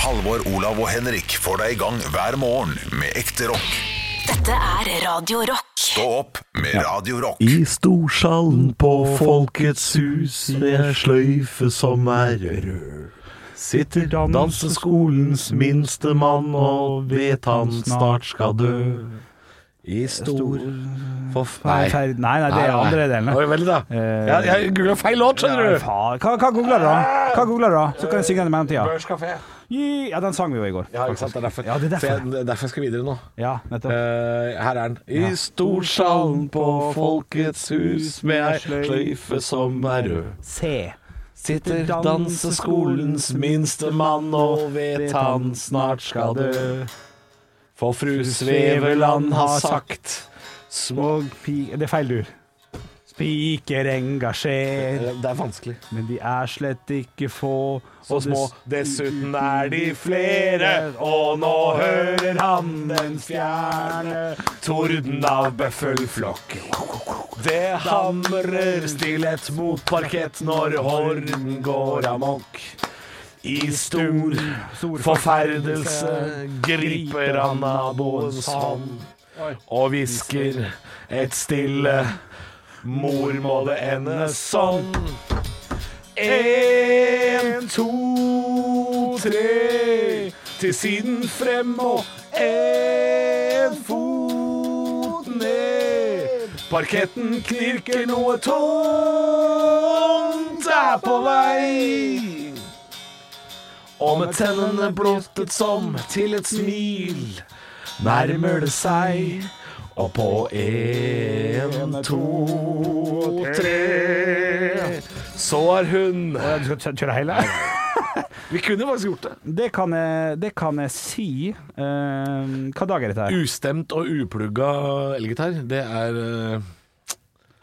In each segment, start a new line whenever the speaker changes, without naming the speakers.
Halvor, Olav og Henrik får deg i gang hver morgen med ekte rock.
Dette er Radio Rock.
Stå opp med Radio Rock.
I storsalen på Folkets hus med en sløyfe som er rød. Sitter danseskolens minste mann og vet han snart skal dø. I stor
Nei,
forferd...
fer- nei, nei, det er andre delen.
Oi, vel da.
Eh,
Jeg, jeg googlet feil låt, skjønner du.
Faen. Hva, hva googler du, da? Hva googler du da? Så kan jeg synge den i mellomtida.
Børs kafé.
Gi- Ja, den sang vi jo i går.
Ja, ikke sant. Det er derfor.
Ja, det er
Så
derfor.
jeg, det er derfor jeg skal videre nå.
Ja, nettopp.
Eh, her er den. I storsalen på Folkets hus med ei sløyfe som er rød.
Se.
Sitter danseskolens minste mann og vet han snart skal dø. For fru Sveveland har sagt
Smog pi... Det er feil dur. Spiker engasjer,
Eh, Det er vanskelig.
men de er slett ikke få.
Så små. Dessuten er de flere, og nå hører han den fjerne torden av bøffelflokk. Det hamrer stillhet mot parkett når horden går amok. I stor forferdelse griper han naboens hånd og hvisker et stille Mor må det ende sånn. En, to, tre. Til siden frem og en fot ned. Parketten knirker noe tungt er på vei. Og med tennene blottet som til et smil nærmer det seg. Og på en, to, tre Så er hun
Ja, Du skal kjøre hele?
Vi kunne faktisk gjort det.
Det kan jeg, det kan jeg si. Eh, hva dag er dette? her?
Ustemt og uplugga elgitar, det er eh,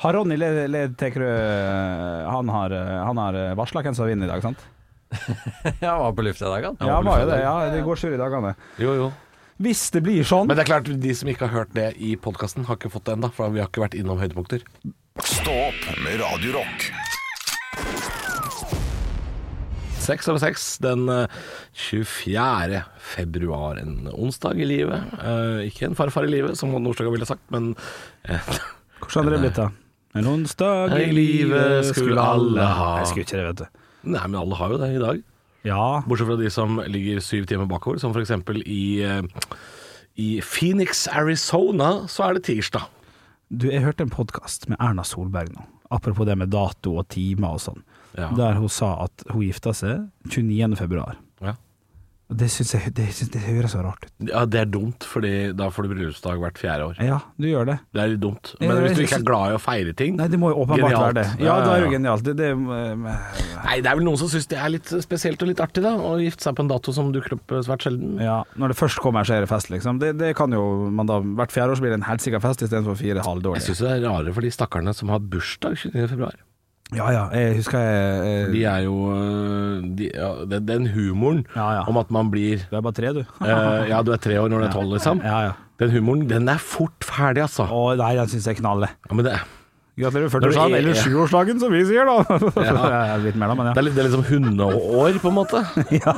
Har Ronny Le- Le- Tekerø Han har, han har varsla hvem som vinner i dag, sant?
Ja, var på lufta i dag, han.
Ja, han var jo det. Ja, det går sur i dagene.
Jo, jo.
Hvis det blir sånn
Men det er klart, de som ikke har hørt det i podkasten, har ikke fått det ennå, for vi har ikke vært innom høydepunkter.
Stå opp med Radio Rock.
Seks over seks den eh, 24. februar, en onsdag i livet. Eh, ikke en farfar i livet, som Nordstoga ville sagt, men eh,
Hvordan hadde det blitt, da? En onsdag
i livet skulle alle ha.
Jeg skulle ikke det, vet du.
Nei, men alle har jo det i dag.
Ja.
Bortsett fra de som ligger syv timer bakover, som f.eks. i eh, i Phoenix, Arizona, så er det tirsdag.
Du, jeg hørte en podkast med Erna Solberg nå. Apropos det med dato og timer og sånn.
Ja.
Der hun sa at hun gifta seg 29. februar.
Ja.
Og Det syns jeg det, synes, det høres så rart ut.
Ja, det er dumt, fordi da får du bryllupsdag hvert fjerde år.
Ja, du gjør det.
Det er litt dumt.
Ja,
Men
jeg
hvis du
synes-
ikke er glad i å feire ting
Nei, det må jo åpenbart
Genialt.
være det. Ja,
Ja,
da er det
ja.
jo genialt. Det, det, eh,
Nei, det er vel noen som syns det er litt spesielt og litt artig, da. Å gifte seg på en dato som dukker opp eh, svært sjelden.
ja, når det først kommer, så er det fest, liksom. Det, det kan jo man da Hvert fjerde år så blir det en helsika fest istedenfor fire
Jeg
halvdårlige.
syns det er rarere for de stakkarene som har bursdag 29.2.
Ja ja, jeg husker jeg
De
eh,
er jo eh, de, ja, den, den humoren
Ja, ja.
om at man blir
Du er bare tre, du.
eh, Ja, du er tre år når du er tolv, liksom.
Ja ja.
Den humoren, den er fort ferdig, altså.
Å nei, den syns jeg knaller.
Ja, men det,
Gratulerer med
Når du
40-årsdagen,
er-
eller 7-årsdagen som vi sier, da. Ja. Litt mer, da, men
det
ja.
er litt det er litt som hundeår, på en måte.
ja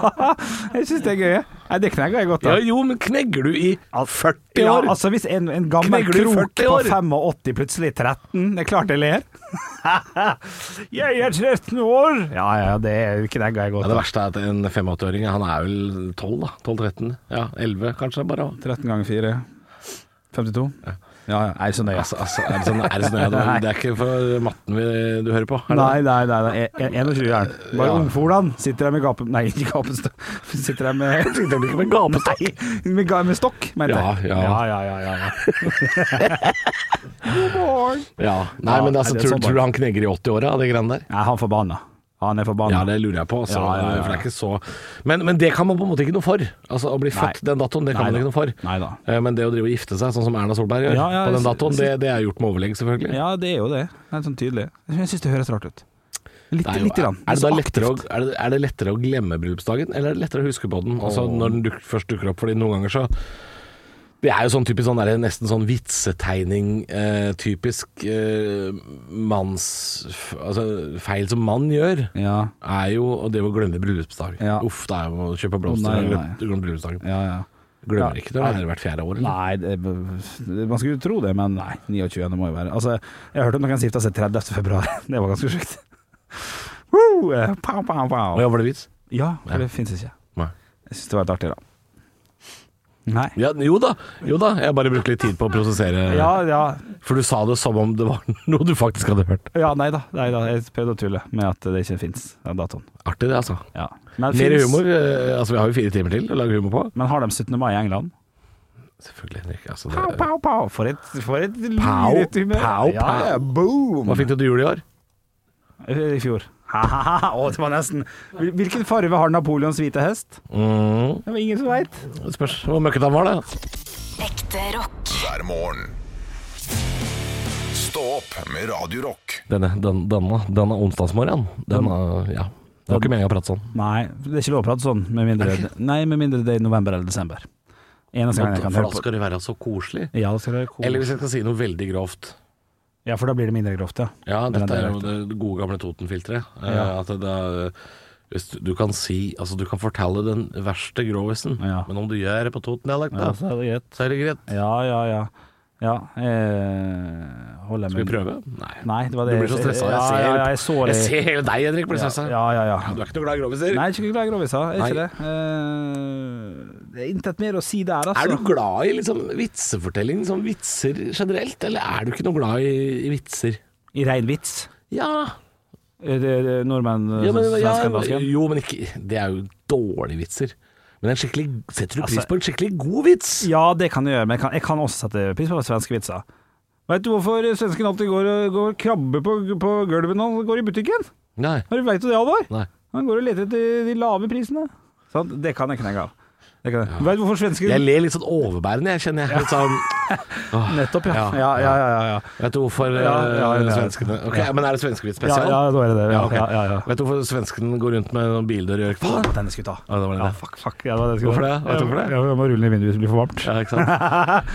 jeg syns det er gøy. Nei, det knekker jeg godt,
Ja,
da.
jo, men knegger du i 40
Ja,
år?
altså Hvis en, en gammel
Knegler du i
krok
40
på
år?
85 plutselig 13 Det er klart jeg ler. jeg er 13 år! Ja ja, det knegger jeg
Ja,
godt.
det
da.
verste er at en 85-åring, han er vel 12 da, 12-13, ja, 11 kanskje bare.
13 ganger 4 52 Ja, ja, er det så nøye
Altså, altså, er det sånn, er det, sånn det,
Nei.
det er ikke for matten vi, du hører på? er det?
Nei, nei, nei, nei. e- e- 21 er det. Bare
Ja.
ungfolan sitter der med gapen Nei, ikke gapenstå Sitter der med
Det blir ikke med gape.
Nei, med, ga- med stokk, mener
Ja,
jeg
ja.
ja, ja, ja, ja. God morgen
Ja, nei,
Ja,
men
nei,
altså,
det er
tror,
sånn
tror du han knegger i 80-åra av de greiene der?
Nei, han forbanna Han er forbanna
Ja, det lurer jeg på. Altså,
Ja, ja, ja, ja.
For det er ikke så... men, men det kan man på en måte ikke noe for. Altså, Å bli
Nei.
født den datoen, det kan
Nei
man
da.
ikke noe for.
Nei da.
Eh, Men det å drive og gifte seg, sånn som Erna Solberg gjør
Ja, ja,
på
jeg
den
sy-
datoen, det, det er gjort med overlegg, selvfølgelig.
Ja, det er jo det Det er sånn tydelig Jeg synes det høres rart ut Litt,
Det er, jo,
litt grann
er, det
så
da lettere å,
aktivt.
er, det, er det lettere å glemme bryllupsdagen, eller er det lettere å huske på den? Altså Når den duk, først dukker opp, fordi noen ganger så
Det er jo sånn typisk sånn der, nesten sånn vitsetegning, eh, typisk eh, manns f- Altså feil som mann gjør,
Ja,
er jo å det å glemme bryllupsdag.
Ja.
Uff, det er jo å kjøpe
Å, nei,
blomster og
nei.
glemme- glemme bryllupsdagen.
ja, ja.
Glemmer
Ja.
ikke det, det er hvert fjerde år, eller?
Nei, det, man skulle jo tro det, men nei. 29. må jo være Altså, jeg har hørt om noen gifta seg 30. februar. Det var ganske sjukt. Woo! Eh, Pow, pow,
Å
pow.
Ja, var det vits?
Ja, for det fins ikke.
Nei.
Jeg syns det var litt artig, da. Nei.
Ja, jo da, jo da. Jeg bare brukte litt tid på å prosessere.
Ja, ja.
For du sa det som om det var noe du faktisk hadde hørt.
Ja, nei da. Nei da. Jeg prøvde å tulle med at det ikke fins, den datoen.
Artig det, altså.
Ja. Men,
Mer
finnes-
humor. eh, Altså, vi har jo fire timer til å lage humor på.
men har de 17. mai i England?
Selvfølgelig, Henrik. Altså,
Pow,
det,
pow, pow. For et, for et
Pow,
lurete humør.
pow,
Ja, ja, boom.
hva fikk du til jul i år?
I fjor. Ha-ha-ha. Å, det var nesten Hvil- Hvilken farve har Napoleons hvite hest?
Mm.
Det var ingen som veit.
Det Spørs hvor møkkete han var, det.
Ekte rock.
hver morgen. Stå opp med Radio Rock.
Denne, den, denne, denne onsdagsmorgenen. Denne, ja. Det var ikke meningen å prate sånn.
Nei, det er ikke lov å prate sånn, med mindre, nei, med mindre det er i november eller desember. Eneste gang jeg kan
For da
høre på
skal det være så koselig.
ja, da skal det være kos.
Eller hvis jeg skal si noe veldig grovt.
ja, for da blir det mindre grovt, ja.
Ja,
Men
dette
det er
er jo det gode gamle Toten-filteret. Eh,
Ja.
At det, det, hvis du, du kan si Altså, du kan fortelle den verste grovisen,
Ja.
men om du gjør det på Toten-dialekt, da,
så er det greit.
så er det greit.
Ja, ja, ja. Ja, eh, holder jeg
Skal vi
med-
prøve? Nei.
Nei, det var
Du
det
blir så stressa. Jeg ser,
Ja, ja, ja, jeg så det.
jeg ser hele deg, Henrik, blir stressa.
Ja, ja, ja.
Du er ikke noe glad i groviser.
Nei, jeg er ikke glad i groviser. Jeg Er ikke
Nei.
det. Eh, det er intet mer å si der, altså.
Er du glad i liksom, vitsefortelling, som vitser generelt, eller er du ikke noe glad i, i vitser?
I rein vits.
Ja,
Eh, det- det- Nordmenn, eh,
ja, men, ja
svensken, dansken.
Jo, men ikke Det er jo dårlige vitser. Men en skikkelig Setter du pris
Altså-
på en skikkelig god vits?
Ja, det kan jeg gjøre, men jeg kan, jeg kan også sette pris på svenske vitser. Veit du hvorfor svensken alltid går og går krabbe på, på gulvet når han går i butikken?
Nei.
Har du veit det, Alvor?
Nei.
Han går og leter etter de lave prisene. Sant? Det kan jeg knegge av. Det kan jeg. Vet du hvorfor svensker
Jeg ler litt sånn overbærende, jeg kjenner jeg. Litt sånn åh,
Nettopp, ja.
Ja,
Ja, ja, ja. ja, ja.
Vet du hvorfor
Ja, ja,
eh,
ja.
svenskene Ok, Men er det svenskevits
Ja,
spesial?
ja, da er det det. Ja,
Ja, ok.
ja, ja, ja.
Vet du hvorfor svensken går rundt med noen bildør i ørkenen?
Denne skulle jeg ta.
Ja, det var den,
Ja,
ja.
fuck, fuck. Ja, det var den
Hvorfor
skulle
det?
jeg ta.
Vet du hvorfor det?
Ja, Jeg må rulle ned vinduet hvis det blir for varmt.
Ja, ikke sant?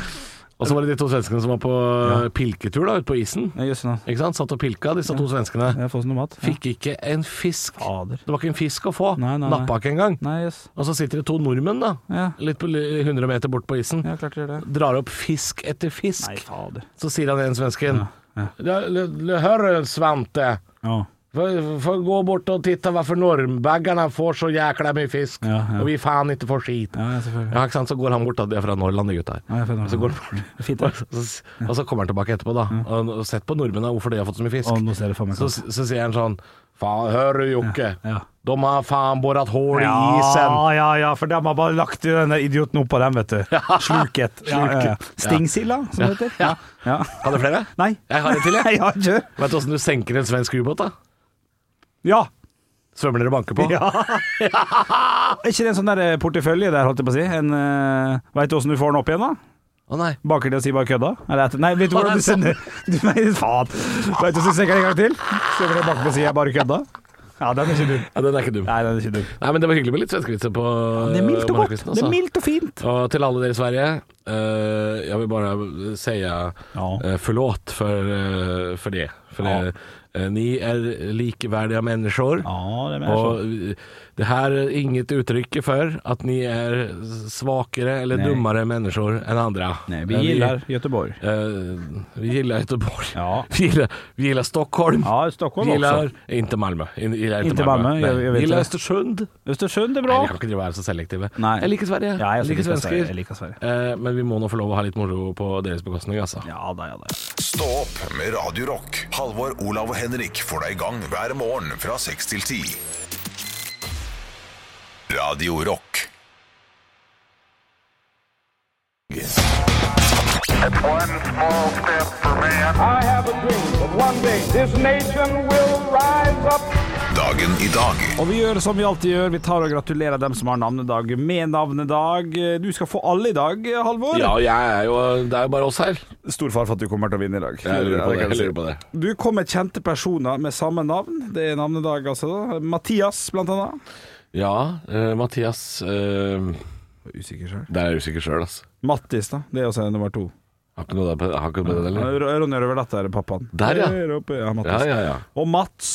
Og så var det de to svenskene som var på eh, pilketur da, ute på isen.
Ja, Jøss, nå.
Ikke sant? Satt og pilka, disse to svenskene.
Jeg har fått noe mat. Ja.
Fikk ikke en fisk.
Fader.
Det var ikke en fisk å få.
Nei, nei, nei.
Nappa ikke engang.
Nei, jøss.
Og så sitter det to nordmenn, da.
Ja.
Litt på li- 100 meter bort på isen.
Jeg har klart å gjøre det.
Drar opp fisk etter fisk.
Nei, fader.
Så sier han en svensken
Ja,
"Ja, l- l- Hør, Svante.
Ja.
Får får gå bort og titta varför norrbaggarna får så jäkla mye fisk.
Ja, ja.
Og vi faen ikke får skit.
Ja, selvfølgelig.
Ja, ikke sant? Så går han bort, da. De er fra Norrland, de gutta her.
Ja, jeg får noe.
Så går han bort.
Fint,
Og
det.
så, og så kommer han tilbake etterpå, da. Og, og sett på nordmennene hvorfor de har fått så mye fisk.
Å, nå ser jeg for meg
Så, så sier han sånn Faen, hører du, Jokke?
Ja.
De har faen boret hull i isen.
Ja, ja, ja, for de har bare lagt den der idioten opp på dem, vet du. Sluket. Ja, ja, ja.
Sluket.
Stingsilda, som det heter. Ja. ja.
Har du flere?
Nei.
Jeg har en til, jeg.
Ja, kjør.
Vet du åssen du senker en svensk ubåt, da?
Ja.
Svømmer dere og banker på?
ja. Er ikke det en sånn der eh, portefølje der, holdt jeg på å si? En, eh, vet du åssen du får den opp igjen, da?
Å nei.
Baker de og sier bare kødda? Eller etter? Nei, vet du hvordan du sender du, Nei, faen. Vet du hvordan du senker en gang til? Så blir det baker de og sier jeg bare kødda? Ja, den er ikke dum.
Ja, den er ikke dum.
Nei, den er ikke dum.
Nei, men det var hyggelig med litt svenskevitser på
Det er mildt
på
og godt.
morgenkvisten,
Det
altså.
er mildt og fint.
Og til alle dere i Sverige, eh, jeg vil bare si eh, forlåt for, eh, for det. For
Ja.
det. Eh, ni er likeverdige mennesker.
Ja, det mener jeg så.
Og eh, det her er inget uttrykk for at ni er svakere eller
Nej.
dummere mennesker enn andre.
Nei, vi
Eh,
gillar Göteborg.
eh, vi gillar Göteborg.
Ja.
Vi, gillar, vi gillar Stockholm.
Ja, Stockholm
vi
också.
gillar inte Malmö. In- Gillar inte
Inte
Malmö.
Malmö, jag-
Nej.
jag vet
gillar
det.
Östersund.
Östersund är
Nei,
bra.
vi kan ikke drive og være så selektive.
Nei.
Jeg liker Sverige.
Ja, jeg også
liker
liker Sverige.
svensker.
Jeg liker Sverige.
Eh, men vi må nå få lov å ha litt moro på deres bekostning, altså.
Ja da, ja da.
Stå opp med Radio Rock. Halvor, Olav og Henrik får deg i gang hver morgen fra 6 til 10. Radio Rock.
One small step for man. I have a dream that one day this nation will rise up.
Dagen i dag.
Og vi gjør som vi alltid gjør, vi tar og gratulerer dem som har navnedag med navnedag. Du skal få alle i dag, Halvor.
Ja, jeg er jo Det er jo bare oss her.
Stor far for at du kommer til å vinne i dag.
Jeg lurer på
kan
det. Jeg
jeg si.
lurer på det.
Du kom med kjente personer med samme navn. Det er navnedag, altså. da. Mathias, blant annet.
Ja, eh, Mathias eh,
Usikker sjøl.
Der er jeg usikker sjøl, altså.
Mattis, da. Det er også nummer to.
Har ikke noe der på, har ikke noe på det, eller?
Ro- Ronny Røverdatt er pappaen.
Der, ja.
Der oppe, ja,
Ja,
Mattis.
ja, ja.
Og Mats.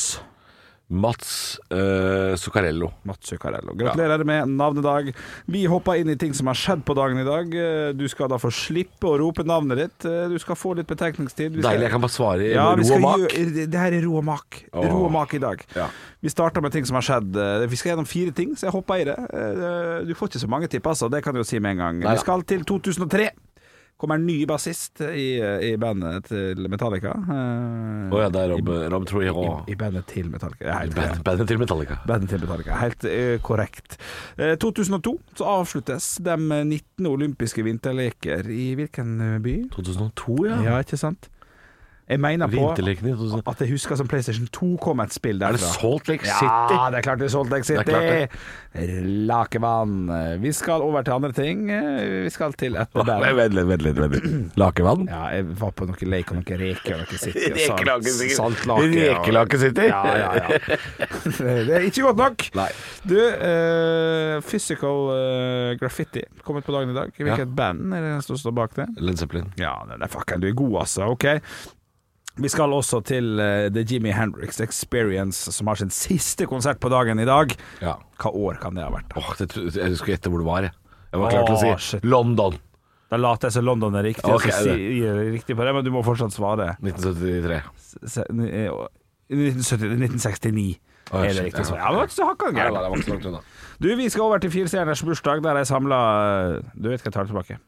Mats eh, Zuccarello.
Mats Zuccarello. Gratulerer med navnedag. Vi hopper inn i ting som har skjedd på dagen i dag. Eh, Du skal da få slippe å rope navnet ditt. Eh, Du skal få litt betenkningstid. Vi skal-
Deilig, jeg kan bare svare i
Ja, vi
ro
skal
og mak.
gjøre- det- det her er ro og mak. Ro og
Eh, Åh.
mak i dag.
Ja.
Vi starter med ting som har skjedd. Eh, Vi skal gjennom fire ting, så jeg hopper i det. Eh, Du får ikke så mange tipp, altså. Det kan du jo si med en gang.
Neida.
Vi skal til 2003. Kommer en ny bassist i, eh, i bandet til Metallica. Eh,
Å ja, det er Rob, eh, Rob Trujillo.
I, I bandet til Metallica. Ja, helt
Band- Bandet til Metallica.
Bandet til Metallica. Helt eh, korrekt. Eh, 2002 så avsluttes de 19 olympiske vinterleker i hvilken eh, by?
2002, ja.
Ja, ikke sant? Jeg mener på
Vinterlekene i 2002.
at jeg husker som PlayStation 2 kom et spill derfra.
Altså- Er det Salt Lake City?
Ja, det er klart det er Salt Lake City.
Det er
Lakevann. Vi skal over til andre ting. Vi skal til et der.
Vent litt, vent litt. vent litt. Lakevann?
Ja, jeg var på noen leik og noen reker og noe sitte.
Rekelake City.
Rekelake
Rekelake City?
Ja, ja, ja. Det er ikke godt nok.
Nei.
Du, eh, Physical eh, Graffiti kom ut på dagen i dag. Hvilket band er det som står bak det?
Led Zeppelin.
Ja, nei, nei, fucken, du er god, altså. Ok. Vi skal også til eh, The Jimmy Hendrix Experience, som har sin siste konsert på dagen i dag.
Ja.
Hva år kan det ha vært? da?
Åh, det, tro- jeg skulle gjette hvor det var, jeg. Jeg var klar til å si
Åh, shit.
London
Da later jeg som London er riktig, og
Ok,
så
det.
sier jeg riktig på det, men du må fortsatt svare.
1973.
Se- eh, 1970 1969
Åh,
er det
shit,
riktig
ja.
svar. Ja, det var ikke så hakka
Nei, nei,
gærent.
det var ikke så langt unna.
Du, vi skal over til firestjerners bursdag, der jeg samla Du vet hva jeg tar tilbake.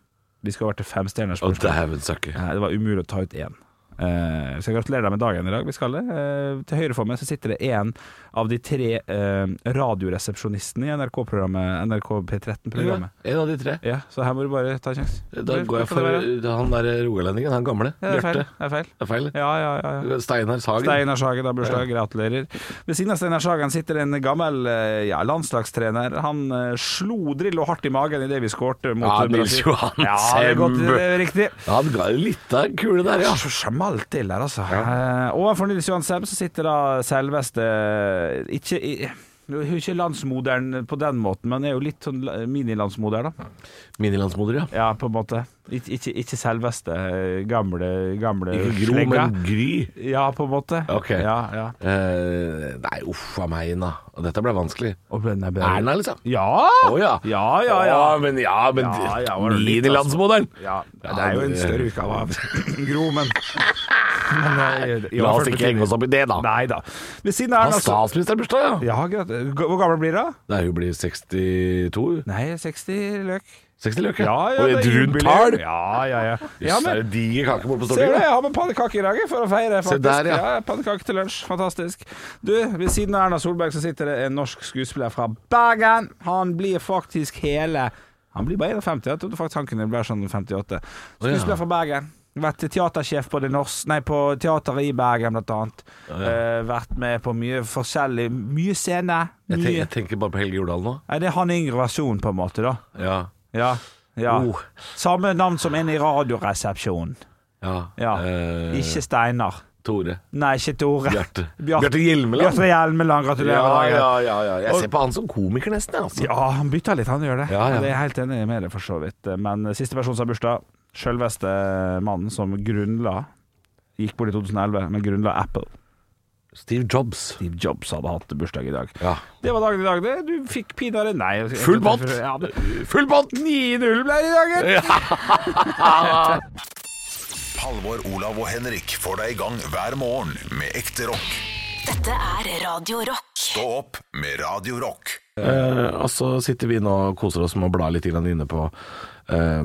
Vi skal over til femstjerners
Å,
bursdag.
dæven søkker.
Eh, Det var umulig å ta ut én. Eh, så jeg gratulerer deg med dagen i dag. Vi skal det. Eh, til høyre for meg så sitter det en av de tre eh, radioresepsjonistene i NRK-programmet NRK P13-programmet.
En av de tre.
Ja, så her må du bare ta en sjanse.
Da går jeg for
Ja,
han der eh, rogalendingen, han gamle.
det er feil.
Bjarte.
Det er feil.
Det er feil.
Ja, ja, ja. ja.
Steinar Sagen.
Steinar Sagen har bursdag, gratulerer. Ved siden av Steinar Sagen sitter en gammel eh, ja, landslagstrener. Han eh, slo Drillo hardt i magen idet vi skårte mot
Ja,
Brasil.
Nils Johan
Ja, det er godt,
Semb.
det er riktig.
Han ga jo litt av en kule der, ja.
Så smalt til der, altså. Eh, overfor Nils Johan Semb så sitter da selveste eh, Ikke i- hun er jo ikke landsmoderen på den måten, men er jo litt sånn la- minilandsmoder, da.
Minilandsmoder, ja.
Ja, på en måte. Ikke, ikke, ikke selveste eh, gamle, gamle
Ikke Gro,
slegga.
men Gry.
Ja, på en måte.
Ok.
Ja, ja.
Eh, nei, uff a meg, Ina. Dette ble vanskelig.
Og den er bedre.
Erna, liksom.
Ja!
Å ja.
Ja, ja, ja.
Å, men ja, men
Ja, ja, var det litt, altså.
Minilandsmoderen.
Ja, det er jo
eh,
en større utgave av Gro, men, men eh, i
La
overført
oss ikke henge oss opp i det, da.
Nei da. Ved siden av
Han
Erna
har
så-
statsministerbursdag, ja.
Ja, greit. Hvor gammel blir hun?
Nei, hun blir 62.
Nei, 60 løk.
60 løk,
Ja, ja,
Og
det
et
er
rundt
jubileum.
tall.
Ja, ja, ja. ja
Jøss, det er
men,
en diger kake borte på
ser du,
Stortinget.
jeg har med pannekake i dag jeg, for å feire, faktisk.
Se der, ja.
Pannekake til lunsj, fantastisk. Du, ved siden av Erna Solberg så sitter det en norsk skuespiller fra Bergen. Han blir faktisk hele Han blir bare 51, jeg trodde faktisk han kunne bli sånn 58. Skuespiller fra Bergen. Vært teatersjef på, det norsk- nei, på teateret i Bergen, blant annet. Eh, vært med på mye forskjellig Mye scene.
Jeg, tenker,
Mye.
jeg tenker bare på Helge Jordal nå.
Nei, det er han yngre versjon, på en måte, da.
Ja.
Ja. ja.
Oh.
Samme navn som en i Radioresepsjonen.
ja.
Ja.
Eh,
Ikke Steinar.
Tore.
Nei, ikke Tore.
Bjarte.
Bjarte-
Bjarte Hjelmeland.
Bjarte Hjelmeland, gratulerer
Ja,
med
ja,
dagen.
ja, ja. Jeg ser på han som komiker nesten, jeg, altså.
Ja, han bytter litt, han gjør det.
Ja, ja.
Det er jeg helt enig med deg, for så vidt. Men siste person som har bursdag, sjølveste mannen som grunnla Gikk bort i 2011, men grunnla Apple.
Steve Jobs.
Steve Jobs hadde hatt bursdag i dag.
Ja.
Det var dagen i dag, det. Du fikk pinadø Nei. jeg-
Full båt.
Ja, det-
Full båt!
9-0 ble det i dag, gitt.
Halvor, Olav og Henrik får deg i gang hver morgen med ekte rock.
Dette er Radio Rock.
Stå opp med Radio Rock.
Eh, og så sitter vi nå og koser oss med å bla litt grann inne på eh,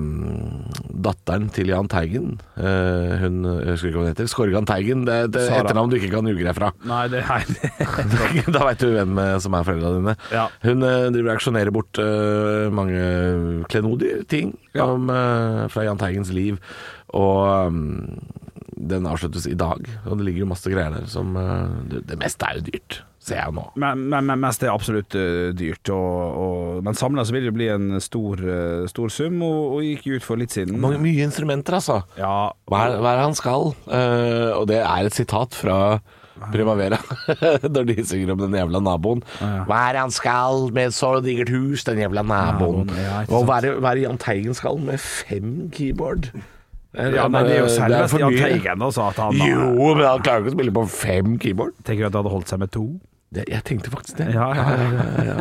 datteren til Jahn Teigen. Eh, hun jeg husker ikke hva hun heter. Skorgan Teigen. Det er et
Sara.
etternavn du ikke kan ljuge deg fra.
Nei, det nei, det-
da veit du hvem eh, som er foreldra dine.
Ja.
Hun eh, driver og auksjonerer bort eh, mange klenodier, ting, om, eh, fra Jahn Teigens liv. Og mm, den avsluttes i dag, og det ligger jo masse greier der som eh, det, det meste er jo dyrt, ser jeg jo nå.
Men, men, men mest er absolutt eh, dyrt. Og, og, men samla så vil det jo bli en stor, eh, stor sum, og, og gikk ut for litt siden.
Mange, mye instrumenter, altså.
Ja,
Hva er, hva er det han skal? Eh, og det er et sitat fra Primavera. Når de synger om den jævla naboen. Hva er det han skal med et så digert hus, den jævla naboen?
Naboen, ja, ikke
Og
sant.
hva er det hva er det Jahn Teigen skal med fem keyboard?
Ja, men det er jo
eh, det er
selveste
for
Jahn
mye.
Teigen da, sa at han eh,
Jo, men han klarer ikke å spille på fem keyboard.
Tenker du at det hadde holdt seg med to?
Det, jeg tenkte faktisk det.
Ja, ja, ja,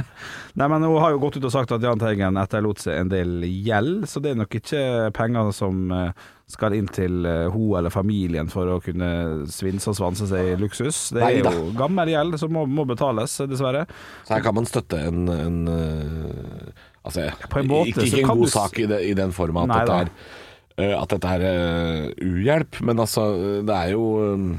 Nei, men Hun har jo gått ut og sagt at Jahn Teigen etterlot seg en del gjeld, så det er nok ikke penger som eh, skal inn til eh, hun eller familien for å kunne svinse og svanse seg i luksus. Det er
Neida.
jo gammel gjeld som må, må betales, eh, dessverre.
Så her kan man støtte en, en øh, Altså,
På en måte
ikke,
så
ikke en
kan
god
du s-
sak i, det, i den form at
Nei
dette
da.
er øh, At dette er øh, uhjelp, men altså øh, Det er jo øh,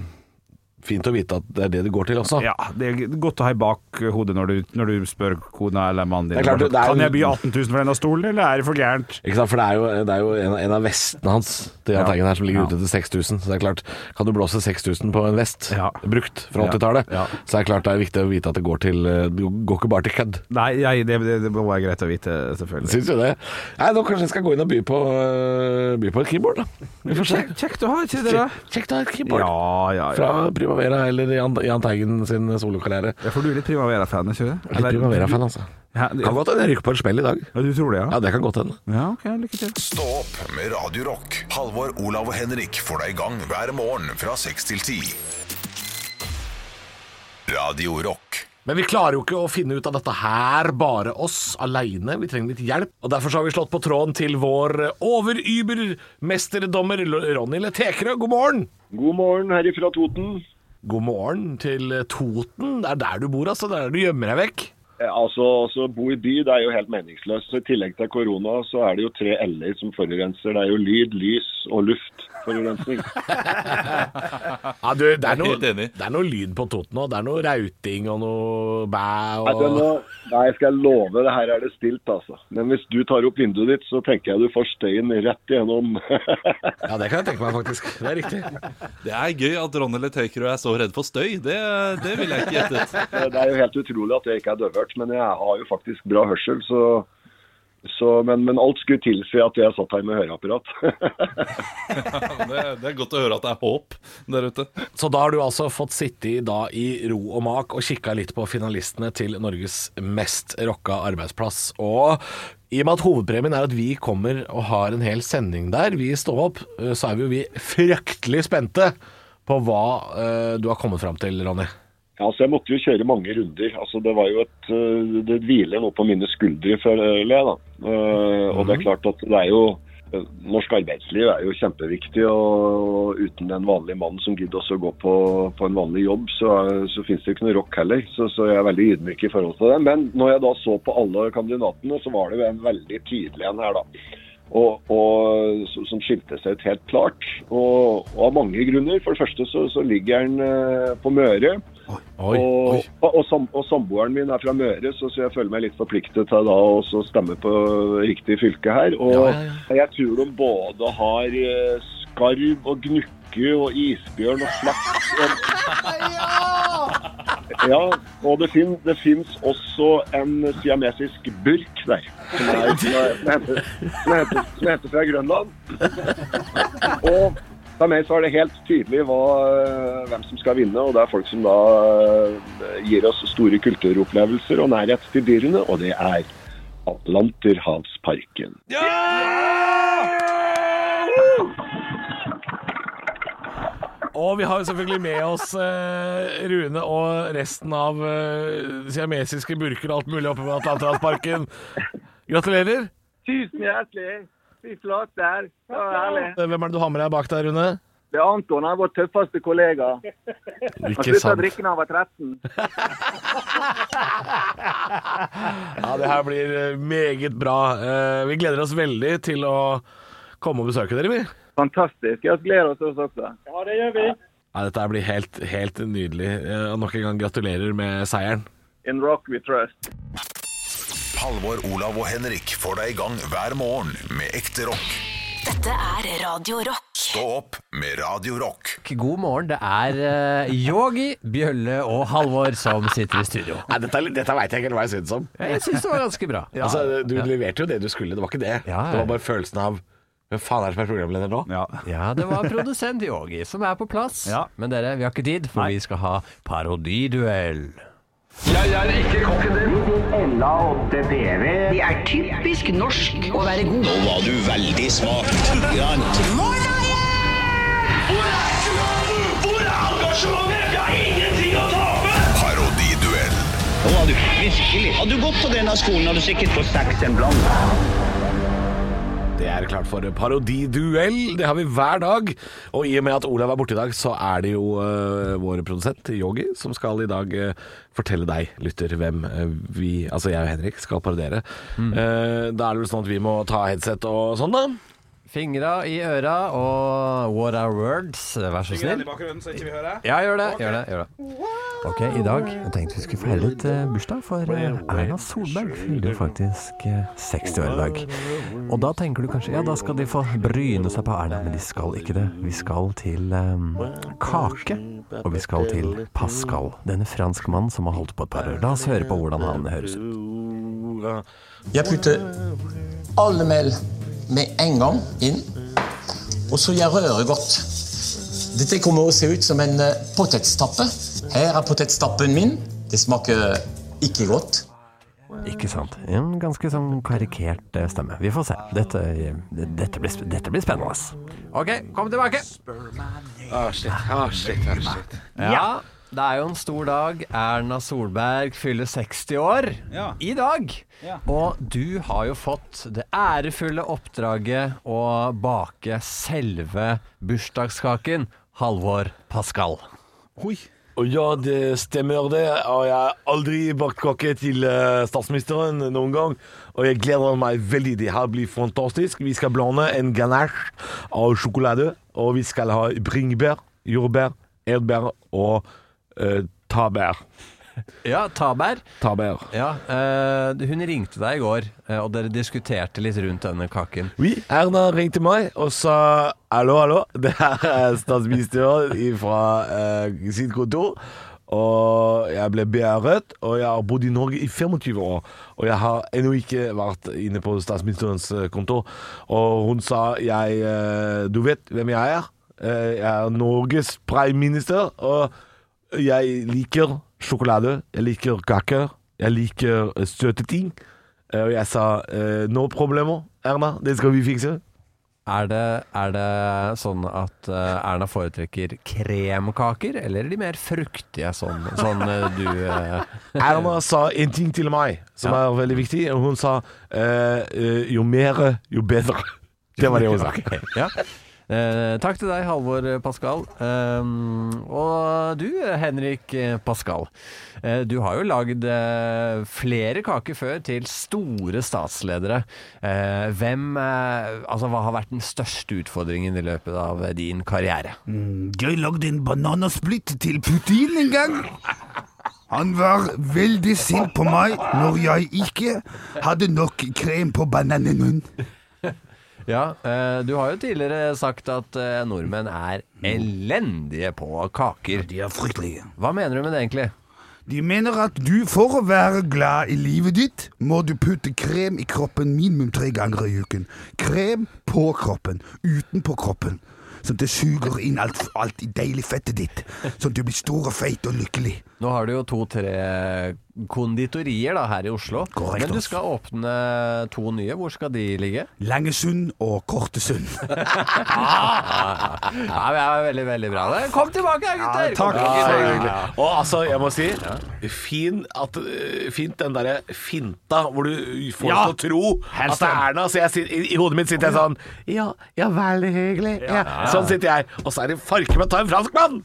fint å vite at det er det det går til også.
Ja, Det er godt å ha i bakhodet når, du- når du spør kona eller mannen din
Det er klart, det er jo-
Kan jeg by 18 000 for denne stolen, eller er det for gærent?
Ikke sant? For det er jo, det er jo en, av- en av vestene hans til Jahn
Ja.
Teigen her som ligger
Ja.
ute til 6000. Så det er klart, kan du blåse 6000 på en vest
Ja.
brukt fra
Ja.
80-tallet,
Ja.
så det er klart det er viktig å vite at det går til øh, Det går ikke bare til kødd.
Nei, jeg, det, det, det må være greit å vite, selvfølgelig.
Syns du det? Nei, nå kanskje jeg skal gå inn og by på, øh, by på et keyboard, da. Vi får se.
Kjekt kjekt å ha, ikke det? da?
Sjekk, sjekk da et keyboard
Ja, ja, ja.
fra Primavera eller Jan, Jan Teigen sin solokarriere.
Ja, for du er litt Primavera-fan, ikke det?
Litt Primavera-fan, altså.
Ja, du,
Kan godt hende jeg rykker på et smell i dag.
ja, du tror det, ja?
Ja, det kan godt hende.
Ja, ok, lykke til.
Stå opp med Radio Rock. Halvor, Olav og Henrik får deg i gang hver morgen fra 6 til 10. Radio Rock.
Men vi klarer jo ikke å finne ut av dette her bare oss aleine. Vi trenger litt hjelp. Og Derfor så har vi slått på tråden til vår over-Uber-mesterdommer L- Ronny Letekerød. God morgen!
God morgen herifra Toten.
God morgen til Toten. Det er der du bor, altså. Det er der du gjemmer deg vekk.
Eh, Altså, altså, bo i by det er jo helt meningsløst. Så I tillegg til korona så er det jo tre L-er som forurenser. Det er jo lyd, lys og luftforurensning.
Ja, du, det, er noe,
helt enig.
det er noe lyd på Toten òg. Det er noe rauting og noe bæ
Nei, det
og
nå- Nei, skal jeg love, det her er det stilt, altså. Men hvis du tar opp vinduet ditt, så tenker jeg du får støyen rett igjennom.
Ja, det kan jeg tenke meg faktisk. Det er riktig.
Det er gøy at Ronny Letekerød er så redd for støy. Det, det ville jeg ikke gjettet.
Det er jo helt utrolig at jeg ikke er døvhørt, men jeg har jo faktisk bra hørsel, så, så men, men alt skulle tilsi at jeg satt her med høreapparat.
Det, det er godt å høre at det er håp der ute.
Så da har du altså fått sitte i, da, i ro og mak og kikka litt på finalistene til Norges mest rocka arbeidsplass. Og i og med at hovedpremien er at vi kommer og har en hel sending der, vi står opp, eh, så er vi jo vi fryktelig spente på hva eh, du har kommet fram til, Ronny.
Ja, altså Jeg måtte jo kjøre mange runder. altså Det var jo et, øh, det hviler nå på mine skuldre, føler jeg. da. Øh, Og det er klart at det er jo øh, Norsk arbeidsliv er jo kjempeviktig. og Uten den vanlige mannen som gidder også å gå på, på en vanlig jobb, så, så fins det jo ikke noe rock heller. Så, så jeg er veldig ydmyk i forhold til det. Men når jeg da så på alle kandidatene, så var det jo en veldig tydelig en her, da og, og, s- som skilte seg ut helt klart. Og, og av mange grunner. For det første så, så ligger han eh, på Møre. og, Og, og, sam, og samboeren min er fra Møre, så, så jeg føler meg litt forpliktet til da å også stemme på riktig fylke her. Og jeg tror de både har eh, skarv og gnukke og isbjørn og slaks. Og, ja, og det, fin, det fins også en siamesisk burk der. Som, er, som, er, som, heter, som, heter, som heter fra Grønland. Og for meg så er det helt tydelig hva, eh, hvem som skal vinne, og det er folk som da eh, gir oss store kulturopplevelser og nærhet til dyrene, og det er Atlanterhavsparken.
Og vi har jo selvfølgelig med oss eh, Rune og resten av eh, siamesiske burker og alt mulig oppe på Atlanterhavsparken. Gratulerer.
Tusen hjertelig. Fy flate. Det var herlig.
Eh, Hvem er det du har med deg bak der, Rune?
Det er Anton, han er vår tøffeste kollega. Han
Ikke
slutta å drikke da han var 13.
Ja, det her blir eh, meget bra. Eh, Vi gleder oss veldig til å komme og besøke dere, vi. Ja,
Fantastisk. Jeg gleder oss oss også.
dette her blir helt, helt nydelig. Eh, Og nok en gang gratulerer med seieren.
In rock we trust.
Halvor, Olav og Henrik får deg i gang hver morgen med ekte rock.
Dette er Radio Rock.
Stå opp med Radio Rock.
God morgen, det er eh, Yogi, Bjølle og Halvor som sitter i studio.
Nei, dette, er litt- dette veit jeg ikke helt hva jeg syns om.
Jeg syns det var ganske bra.
Altså, du leverte jo det du skulle, det var ikke det.
Ja, ja.
Det var bare følelsen av Hvem faen er det som er programleder nå?
Ja,
Ja, det var produsent Yogi som er på plass.
Ja.
Men dere, vi har ikke tid, for vi skal ha parodiduell.
Jeg er ikke kokken din. Ella 8DV.
Det er typisk norsk å være god. Nå var du veldig smak.
Hvor er engasjementet? Jeg har ingenting å tape!
Parodiduell.
Nå var du virkelig. Hadde du gått på denne skolen, hadde du sikkert fått seks en blant.
Det er klart for parodiduell. Det har vi hver dag. Og i og med at Olav er borte i dag, så er det jo eh, vår produsent Yogi som skal i dag eh, fortelle deg, lytter, hvem eh, vi, altså jeg og Henrik, skal parodiere. Eh, da er det vel sånn at vi må ta headset og sånn, da.
Fingra i øra og what are words? Vær så snill. Ja, gjør det. Gjør det, gjør det. Ok, i dag jeg tenkte vi skulle feire litt eh, bursdag, for eh, Erna Solberg fyller jo faktisk eh, 60 år i dag. Og da tenker du kanskje ja, da skal de få bryne seg på Erna, men de skal ikke det. Vi skal til eh, kake, og vi skal til Pascal, denne franskmannen som har holdt på et par år. La oss høre på hvordan han høres ut.
Jeg putter alle mel med en gang inn. Og så jeg rører godt. Dette kommer å se ut som en eh, potetstappe. Her er potetstappen min. Det smaker ikke godt.
Ikke sant. En ganske sånn karikert eh, stemme. Vi får se. Dette, eh, dette, blir, sp- dette blir spennende. ass. Ok, kom tilbake.
Ah, shit. Ah, shit. Ah, shit.
Ja, det er jo en stor dag. Erna Solberg fyller 60 år
Ja.
i dag.
Ja.
Og du har jo fått det ærefulle oppdraget å bake selve bursdagskaken. Halvor Pascal.
Og ja, det stemmer det. Og jeg har aldri bakt kake til eh, statsministeren noen gang. Og jeg gleder meg veldig. Det her blir fantastisk. Vi skal blande en ganache av sjokolade. Og vi skal ha bringebær, jordbær, erdbær og eh, tabær.
Ja, Taber.
Tabær.
Ja, eh, hun ringte deg i går, eh, og dere diskuterte litt rundt denne kaken.
Vi, Erna ringte meg og sa Hallo, hallo, det her er statsministeren fra sitt kontor Og jeg ble beæret Og jeg har bodd i Norge i 25 år Og jeg har enda ikke vært inne på statsministerens eh, kontor Og hun sa jeg, eh, Du vet hvem jeg er Eh, Jeg er Norges premierminister Og jeg liker sjokolade Jeg liker kaker Jeg liker eh, søte ting Eh, Og jeg sa eh, No problemo, Erna. Det skal vi fikse.
Er det, er det sånn at eh, Erna foretrekker kremkaker, eller er de mer fruktige sånn, sånn eh, du eh,
Erna sa en ting til meg som er veldig viktig. og Hun sa eh, eh, jo mer, jo bedre. Det var det hun sa.
Ok, ja. Eh, takk til deg, Halvor Pascal. Um, og du, Henrik eh, Pascal. Eh, du har jo lagd eh, flere kaker før til store statsledere. Eh, hvem eh, Altså, hva har vært den største utfordringen i løpet av eh, din karriere?
Jeg lagde en bananasplitt til Putin en gang. Han var veldig sint på meg når jeg ikke hadde nok krem på bananen min.
Ja, eh, du har jo tidligere sagt at eh, nordmenn er elendige på kaker.
De er fryktelige.
Hva mener du med det egentlig?
De mener at du for å være glad i livet ditt, må du putte krem i kroppen minimum tre ganger i uken. Krem på kroppen, utenpå kroppen. Sånn at det suger inn alt, alt i deilig fettet ditt. Sånn at du blir stor og feit og lykkelig.
Nå har du jo to-tre konditorier da, her i Oslo, men du skal åpne to nye. Hvor skal de ligge?
Langesund og Kortesund.
Ah, ja, det er veldig, veldig bra. Kom tilbake, gutter! Kom
Ja, ja,
tilbake.
ja. Og altså, jeg må si fin at, eh, Fint den derre finta hvor du får
Ja.
oss til å tro
Helt
at det er
sant.
Erna. Så jeg, sitter- i, I hodet mitt sitter jeg sånn Ja, ja veldig hyggelig. Ja. Sånn sitter jeg. Og så er det farken meg ta en franskmann!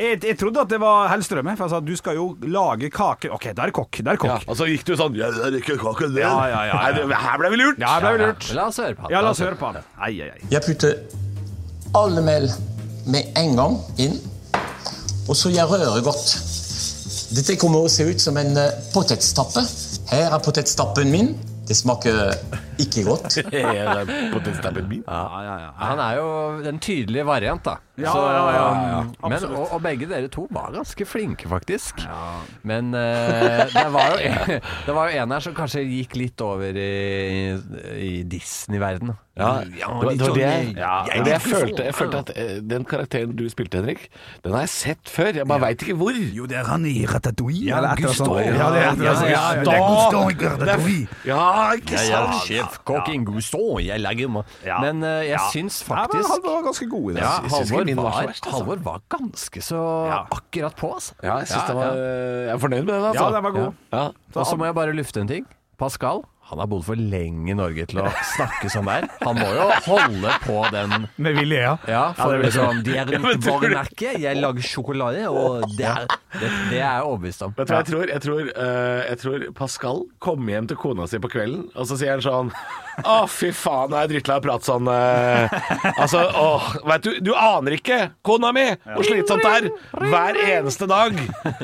Jeg, jeg trodde at det var Hellstrøm, jeg, for jeg sa du skal jo lage kake OK, der er kokk. Der er kokk.
Og så gikk du sånn Ja, det er ikke kake, det.
Ja, ja, ja, ja.
Nei, det- Her ble vi lurt.
Ja, her ble vi lurt.
La oss høre på
Ja, la oss høre på han. Nei, ei, ei.
Jeg putter alle mel med en gang inn. Og så jeg rører godt. Dette kommer å se ut som en eh, potetstappe. Her er potetstappen min. Det smaker ikke godt.
Potetstappen min.
Han er jo den tydelige variant, da.
Ja, ja, ja, ja.
um, Men,
Absolutt.
og, og begge dere to var ganske flinke, faktisk. Men eh, det, var jo, det var jo en her som kanskje gikk litt over i, i Disney-verden. sånn
Ja, det var, det, var det, jeg, sånn- det var det jeg følte. Jeg følte at
det,
eh, den karakteren du spilte, Henrik, den har jeg sett før. Jeg bare veit ikke hvor. Jo,
det er han i Ratatouille.
Ja, det er
Gustav.
Ja, det er
Ja, ja, ja, det er Gustav i Ratatouille.
Ja,
ikke
Jeg er
sant?
sjefkokk Inguston, jeg lager mat. Men eh, jeg syns faktisk
Nei, men Halvor var ganske god i det.
Ja,
Jeg syns ikke
Halvor
min var så
var,
verst, altså.
Halvor var ganske så akkurat på, altså.
Ja, jeg, synes det var, jeg er fornøyd med den. Altså.
Ja, den var god.
Ja.
Og så må jeg bare lufte en ting. Pascal han har bodd for lenge i Norge til å snakke sånn der. Han må jo holde på den
Med vilje, ja.
Ja,
Ja, det vil
for
jeg.
liksom, de er
Ja, men
mitt
tror du-
varemerke. Jeg lager sjokolade, og det er, det, det er jeg overbevist om.
Vet du hva jeg tror? Jeg tror, eh, jeg tror Pascal kommer hjem til kona si på kvelden, og så sier han sånn Å, fy faen, nå er jeg drittlei av å prate sånn. eh, altså, åh, vet du, du aner ikke, kona mi, hvor slitsomt det er hver e- eneste dag.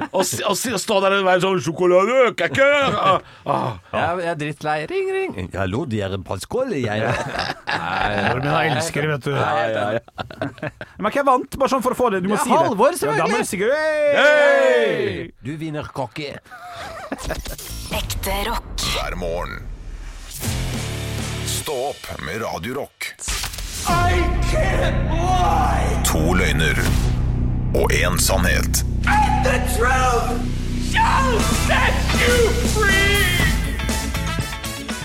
Å si- å si- å stå der og være sånn 'Sjokolade øker ikke'. Ah, ah.
Jeg, jeg er drittlei. Ring, ring. Hallo, de er Pascal. Jeg
Nordmenn elsker det, vet du.
Ja, ja, ja.
Men hvem vant, bare sånn for å få det? Du må
Ja,
si det.
Halvor,
Ja, da må du
selvfølgelig.
si Hey!
Hey! Du vinner kake.
Ekte rock.
hver morgen. Stå opp med Radio Rock.
I can't lie!
To løgner og én sannhet.
And the truth shall set you free!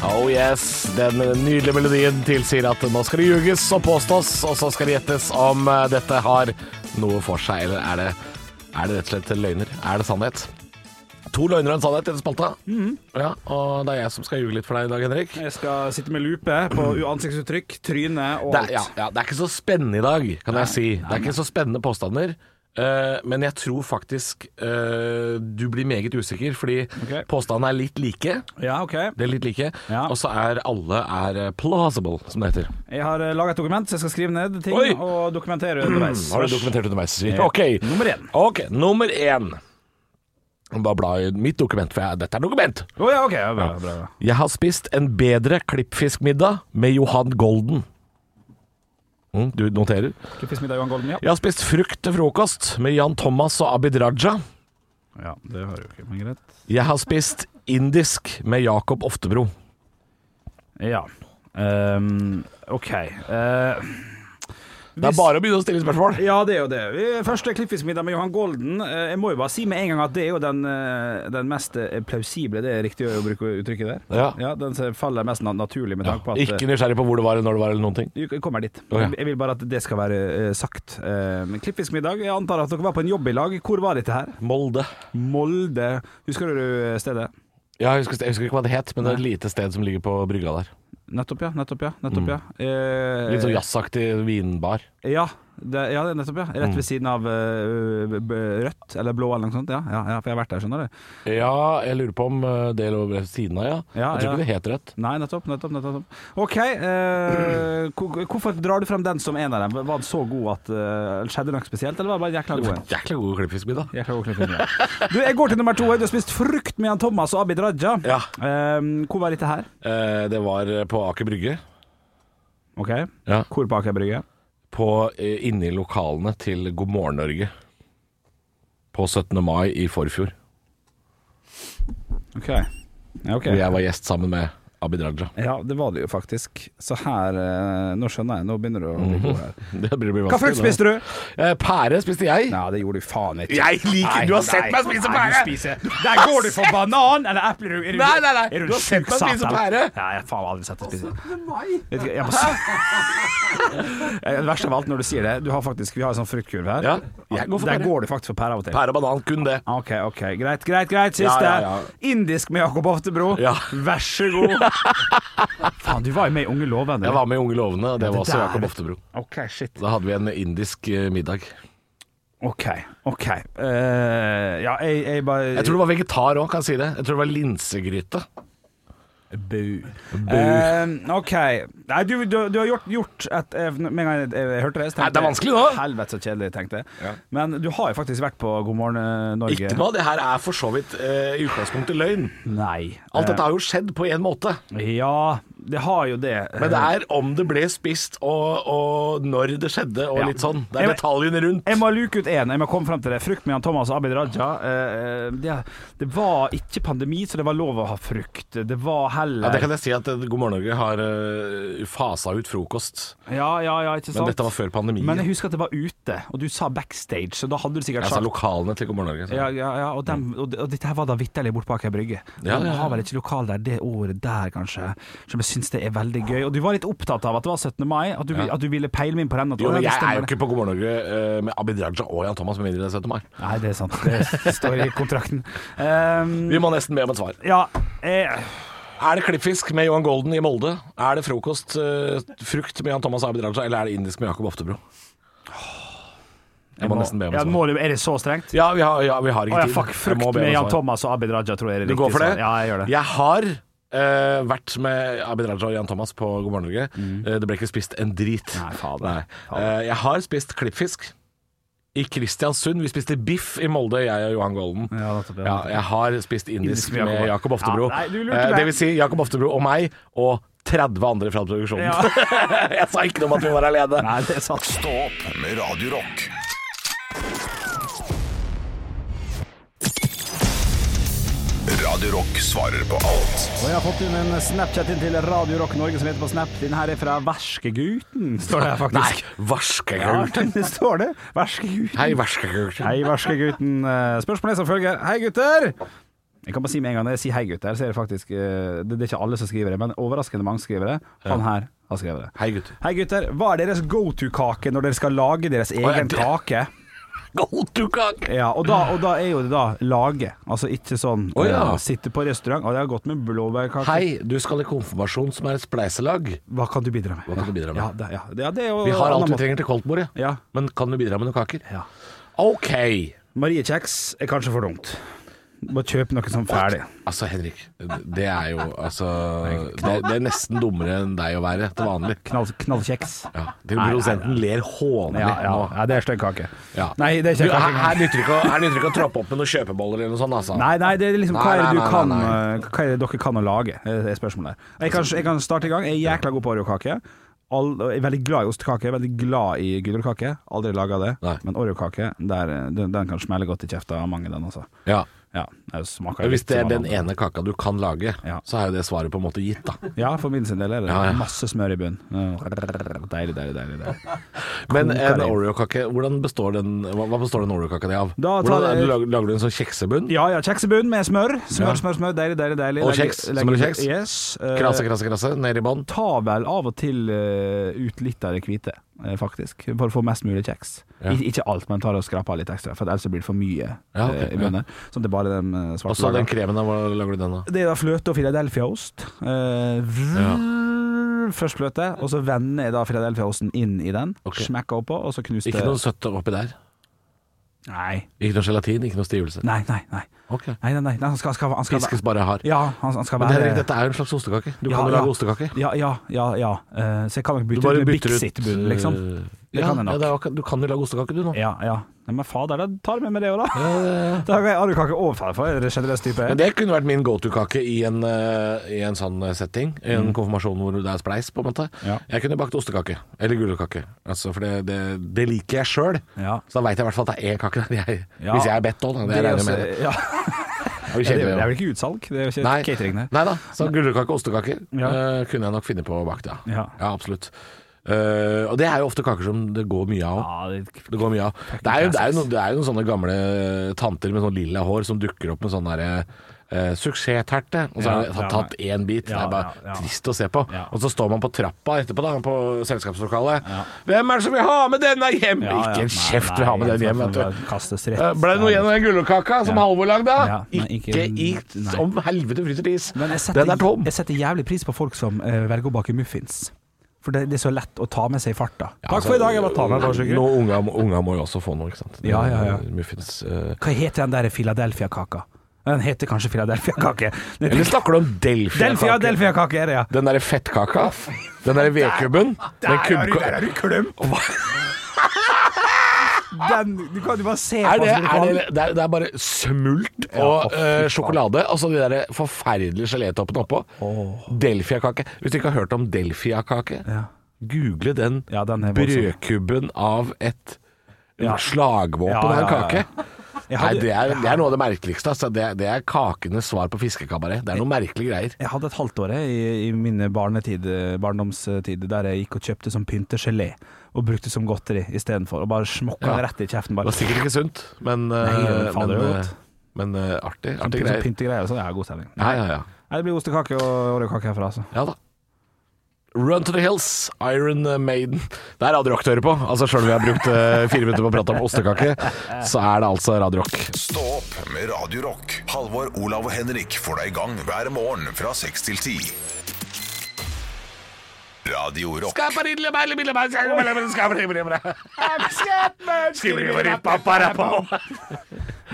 Oh yes, den nydelige melodien tilsier at nå skal det ljuges og påstås, og så skal det gjettes om eh, dette har noe for seg, eller er det, er det rett og slett løgner? Er det sannhet? To løgner og en sannhet i denne spalta. Ja, og det er jeg som skal ljuge litt for deg i dag, Henrik.
Jeg skal sitte med lupe på ansiktsuttrykk, tryne og
Det,
alt.
er- ja, ja, det er ikke så spennende i dag, kan jeg si. Det er ikke så spennende påstander. eh, men jeg tror faktisk eh, du blir meget usikker, fordi påstandene er litt like.
Ja, ok
Det er litt like. Og så er alle er eh, plausible, som det heter.
Jeg har laga et dokument, så jeg skal skrive ned ting
Oi!
og dokumentere underveis.
Har du dokumentert underveis? Siv?
Ja.
Ok.
Nummer én.
Ok, nummer én. Jeg må Bare bla i mitt dokument, for jeg, dette er dokument.
Å ja, ok. Ja, bra, bra, bra.
Jeg har spist en bedre klippfiskmiddag med Johan Golden. Mm, du noterer?
Klippfiskmiddag Johan Golden, ja.
Jeg har spist frukt til frokost med Jan Thomas og Abid Raja.
Ja, det har du ikke, men greit.
Jeg har spist indisk med Jakob Oftebro.
Ja. Ehm, ok. Eh,
Det er
hvis-
bare å begynne å stille spørsmål.
Ja, det er jo det. Vi- Første klippfiskmiddag med Johan Golden. Eh, Jeg må jo bare si med en gang at det er jo den, eh, den mest eh, plausible, det er riktig å bruke uttrykket der.
Ja.
Den som faller mest na- naturlig med tanke på at eh,
Ikke nysgjerrig på hvor det var, når det var, eller noen ting.
Jeg kommer dit.
Ok.
Jeg vil bare at det skal være eh, sagt. Uh, Klippfiskmiddag. Jeg antar at dere var på en jobb i lag. Hvor var dette her?
Molde.
Molde. Husker du eh, stedet?
Ja, jeg, husker, jeg husker ikke hva det het, men det er et lite sted som ligger på brygga der.
Nettopp, ja. Nettopp, ja. Nettopp, ja. Eh,
Litt sånn jazzaktig vinbar.
Ja, det, ja, det er nettopp, ja. Rett
Mm.
ved siden av eh, b- b- rødt, eller blå eller noe sånt. Ja, ja, ja for jeg har vært der, skjønner du.
Ja, jeg lurer på om eh, det lå ved siden av, ja.
Ja,
jeg tror
ja.
ikke det het rødt.
Nei, nettopp, nettopp. nettopp. OK, eh, hvor- hvorfor drar du frem den som en av dem? Var den så god at eh, Skjedde det noe spesielt, eller var det bare en jækla god en?
Jækla god klippfiskmiddag.
Jækla god klippfiskmiddag. Du, jeg går til nummer to. Du har spist frukt med han Thomas og Abid Raja. Ehm, hvor var dette her?
Eh, det var på Aker Brygge.
Ok, Hvor på Aker Brygge?
På, eh, inni lokalene til God morgen Norge. På 17. mai i forfjor.
Ok. Ja, ok.
Hvor jeg var gjest sammen med Abid Raja.
Ja, det var det jo faktisk. Så her eh, Nå skjønner jeg, nå begynner du å bli god her.
Det blir- blir
Hva
vanskelig,
frukt
da.
spiste du?
pære spiste jeg.
Ja, det gjorde du faen ikke.
Jeg liker-
Nei,
du har sett
nei,
meg spise
nei, du
pære.
spiser-
Du
Der
har
går du for
sett-
banan eller eple. Er du-
Nei, nei, nei.
Er du,
Du har sett
sjuk
meg spise
satan?
pære. Altså,
Nei, jeg har faen aldri sett deg spise Vet ikke, jeg må s- Eh, Det verste av alt når du sier det, du har faktisk, vi har en sånn fruktkurv her.
Ja, jeg går for
Der
pære.
går du faktisk for pære av og til.
Pære og banan, kun det.
Ok, ok, greit, greit, greit, siste.
Ja, ja, ja.
Indisk med Jakob Oftebro. Vær så god. Faen, du var jo med i Unge lovende.
Jeg var med i Unge lovende, og det,
Ja, det
var også
der.
Jakob Oftebro.
Ok, shit
Da hadde vi en indisk eh, middag.
Ok, ok. Eh, ja, jeg, jeg bare
Jeg tror det var vegetar òg, kan jeg si det. Jeg tror det var linsegryte.
Bu. Eh, OK. Nei, du, du, du har gjort, gjort et eh, Med en gang jeg, jeg, hørte det, så
Nei, det er vanskelig nå.
Helvete, så kjedelig, tenkte jeg. Men du har jo faktisk vært på God morgen eh, Norge.
Ikke noe av det her er for så vidt eh, i utgangspunktet løgn.
Nei.
Alt
Eh,
dette har jo skjedd på én måte.
Ja, det har jo det.
Men det er om det ble spist, og, og når det skjedde, og
Ja.
litt sånn. Det er
Jeg-
detaljene rundt.
Eh, Jeg må luke ut én. Jeg må komme frem til det. Frukt med Jan Thomas og Abid Raja. Eh, det, det var ikke pandemi, så det var lov å ha frukt. Det var heller
Ja, det kan jeg si at eh, God morgen Norge har uh, fasa ut frokost.
ja, ja, ja, ikke sant?
Men dette var før pandemien.
Men jeg husker at det var ute, og du sa backstage, så da hadde du sikkert
Altså
sagt
lokalene til God morgen Norge. så-
ja, ja, ja, og, dem, og, det- og dette her var da vitterlig bort bak ei brygge.
Mm. Ja,
De
ja, ja.
har vel ikke lokal der det året der, kanskje. Som jeg syns det er veldig gøy. Og du var litt opptatt av at det var 17. mai, at du,
Ja.
at du ville peile meg inn på den. At,
Jo,
Å,
men
ja, det
jeg er jo
stemmer.
ikke på God morgen Norge eh, med Abid Raja og Jan Thomas med mindre det er 17. mai.
Nei, det er sant. Det står i kontrakten. Ehm,
Vi må nesten be om et svar.
Ja, eh,
Er det klippfisk med Johan Golden i Molde? Er det frokost, eh, frukt med Jan Thomas og Abid Raja, eller er det indisk med Jakob Oftebro? Jeg må nesten be om
ja,
et svar.
må du, er det så strengt?
Ja, vi har, ja, vi har
Å
ikke
ja,
tid.
fuck,
Jeg må
frukt
be om
med
et
Jan
svar.
Thomas og Abid Raja tror jeg er
Du
riktig.
går for det?
svar. Ja, jeg gjør det.
Jeg har eh, vært med Abid Raja og Jan Thomas på God morgen Norge.
Mm.
Eh, det ble ikke spist en drit. Nei, Eh, jeg har spist klippfisk. I Kristiansund. Vi spiste biff i Molde, jeg og Johan Golden.
Ja, nettopp, ja,
Ja,
nettopp.
jeg har spist indisk
Indisk med
med
Jakob.
Jakob Oftebro.
Ja, nei, du lurte
Eh,
meg.
det vil si Jakob Oftebro og meg, og 30 andre fra produksjonen.
Ja.
jeg sa ikke noe om at vi var alene.
Nei, det er sant.
Stå opp med Radio Rock. Radio Rock svarer på alt.
Og jeg har fått inn en Snapchat inn til Radio Rock Norge som heter på Snap. Den her er fra Verskeguten, står det her faktisk.
Nei, Varskegulten.
det står det. Verskeguten.
Hei, Varskegulten.
Hei, Verskeguten. Eh, Spørsmålet er som følger. Hei, gutter! Jeg kan bare si med en gang når jeg sier hei, gutter, så er det faktisk eh, Det det er ikke alle som skriver det, men overraskende mange skriver det. Han her har skrevet det.
Hei, gutter.
Hei, gutter. Hva er deres go to-kake når dere skal lage deres
ja,
egen
det-
kake?
Go to cock!
Ja, og da, og da er jo det da lage. Altså ikke sånn
Å, ja.
eh, sitte på restaurant. Og det har gått med blåbærkake.
Hei, du skal i konfirmasjon som er et spleiselag.
Hva kan du bidra med?
Hva kan du bidra med?
Ja, det, ja. Det, ja, det er jo
Vi har alt
annen
vi
måte.
trenger til koldtbordet,
Ja.
men kan du bidra med noen kaker?
Ja.
OK.
Mariekjeks er kanskje for dumt. Må kjøpe noe sånn ferdig.
Altså, Henrik, det er jo altså det, det er nesten dummere enn deg å være til vanlig.
Knall, knallkjeks.
Ja, det
Nei,
er jo
nei,
Produsenten ler hånlig
Ja, ja,
nå.
ja, det er stygg kake.
Ja.
Nei, det er
Du,
ikke
her,
kake.
her nytter det ikke, å- her nytter det ikke å troppe opp med noen kjøpeboller eller noe sånt, altså.
Nei, nei, det er liksom hva
Nei,
er det du
nei, nei,
kan
nei.
eh, Hva er det dere kan å lage, eh, er spørsmålet der. Jeg kan, jeg kan starte i gang. Jeg er jækla god på oreokake. All, og jeg er veldig glad i ostekake, veldig glad i gulrotkake. Aldri laga det. Men oreokake, der, eh, den, den kan smelle godt i kjefta av mange, den altså.
Ja.
Ja, det smaker
Men Hvis
litt
det er
som alle
den
andre.
ene kaka du kan lage, så er jo det svaret på en måte gitt, da.
Ja, for min sin del er det
Ja, ja.
masse smør i bunnen. Åh, Deilig, deilig, deilig. deilig.
Men
Koker
en
inn.
Oreo-kake, hvordan består den Hva hva består den Oreo-kaka di av?
Da tar
Hvordan,
jeg-
lager, lager du en sånn kjeksebunn?
Ja, ja, kjeksebunn med smør. Smør,
Ja.
smør, smør. Deilig, deilig, deilig.
Og
Legger-
kjeks?
legger-
Smør og kjeks?
Yes. Eh,
Krasse, krasse, krasse, ned i bånn?
tar vel av og til eh, ut litt av det hvite, eh, faktisk. For å få mest mulig kjeks.
Ja.
Ik ikke alt, men tar og skraper av litt ekstra, for ellers så blir det for mye
Ja, ok,
eh, i
ja.
munnen. Sånn at det er bare den eh,
Og
svarte
så
lagen.
den kremen, da, hva lager du den av?
Det er da fløte og Philadelphia-ost. Eh, vrr, Først fløte, og så vender jeg da Philadelphia-osten inn i den. Smekker oppå, og så knuste
Ikke noe søtt oppi der?
Nei.
Ikke noe gelatin, ikke noe stivelse?
Nei, nei, nei. nei, nei, nei. nei han skal, han skal, han skal
Piskes bare hard?
Ja, han, han skal
Men
være
Henrik, dette er jo en slags ostekake. Du kan jo lage ostekake.
Ja, ja, ja. ja. Eh, så jeg kan nok
Du
bytte
bare
ut med
bytter
Bix
ut, Øh, eh,
sitt bunn, liksom. Det
ja,
kan jeg nok.
ja, det er akkurat- du kan jo lage ostekake, du nå.
Ja, ja. Nei, men fader, da tar vi med det òg, da. Da har jeg alurakake overfor for en generøs type.
Men det kunne vært min go to-kake i, en, eh, i en sånn setting. I
Mm.
en konfirmasjon hvor det er spleis, på en måte. Jeg kunne bakt ostekake. Eller gulrotkake. Altså, for det, det, det liker jeg sjøl. Så da veit jeg i hvert fall at det er én kake der. Jeg,
Ja.
Hvis jeg er bedt om, da. Det
Det er
regner jeg
også-
med.
ja.
Det er
Ja,
jo
det,
kjedelig,
er- det er
jo.
vel ikke utsalg? Det er jo ikke
Nei.
catering der.
Nei da. Så gulrotkake og ostekake
Ja.
eh, kunne jeg nok finne på å bake, ja.
Ja.
Ja, absolutt. Eh, og det er jo ofte kaker som det går mye av.
det,
går mye av. Det er, jo, det, er jo noen, det er jo noen sånne gamle tanter med sånn lilla hår som dukker opp med sånn derre eh, suksessterte, og så
Ja,
har de
ja,
tatt- tatt én bit. det
Ja,
er bare
ja, ja.
trist å se på.
Ja.
Og så står man på trappa etterpå, da, på selskapslokalet. 'Hvem er det som vil ha med denne hjem?'
Ja, ja.
Ikke en
Nei,
kjeft vil ha med
nei,
den hjem,
skal
vet du.
bare Kastes rett.
Eh, Ble det noe igjen av den gulrotkaka som
Ja.
Halvor lagde?
Ja, men ikke-
ikke i
nei.
Om helvete fryser is!
Men jeg
Den er
setter, jeg setter jævlig pris på folk som eh, velger å bake muffins. For det, det er så lett å ta med seg i farta. Takk for i dag, jeg bare tar med et par stykker.
altså, Nå unga, unga må jo også få noe, ikke sant.
Ja, ja, ja.
Muffins. eh,
Hva heter den der Philadelphia-kaka? Den heter kanskje Philadelphia-kake. Den heter-
Eller snakker du om
Delfia,
Delfia-kake?
Delfia-kake er det, ja.
Den derre fettkaka? Den derre vedkubben?
Der
Den
har du-
kubbka-
der har du klemt. Den, du kan jo bare se
Er
på
det,
den som du
er
kan.
det, det, er, det er bare smult
Ja, å,
og
fy
eh,
faen.
sjokolade, og så de der forferdelige gelétoppene oppå. Delfia-kake. Hvis du ikke har hørt om Delfia-kake, google den,
voldsom.
brødkubben av et
Ja.
slagvåpen
Ja,
av
ja,
en
ja, ja.
kake.
Jeg
Nei,
hadde-
det, er, det er noe av det merkeligste. Altså. Det, er- det er kakenes svar på fiskekabaret. Det er noen merkelige greier.
Jeg hadde et halvt år jeg, i, i mine barnetid, eh, barndomstid der jeg gikk og kjøpte som pyntegelé og brukte som godteri istedenfor. Og bare smokka
Ja.
det rett i kjeften. Bare.
Det var sikkert ikke sunt, men, eh,
Nei, men faen, det er jo
men, eh,
godt.
men eh, artig.
Som
artig
py- som
greier.
pyntegreier og sånn. Ja, god stemning.
Ja, ja, ja.
Nei, det blir ostekake og oreokake herfra, altså.
Ja da. Run to the Hills, Iron Maiden. Det er Radio Rock du hører på. Altså Sjøl om vi har brukt eh, fire minutter på å prate om ostekake, så er det altså Radio Rock.
Stå opp med Radio Rock. Halvor, Olav og Henrik får deg i gang hver morgen fra 6 til 10. Radio Rock.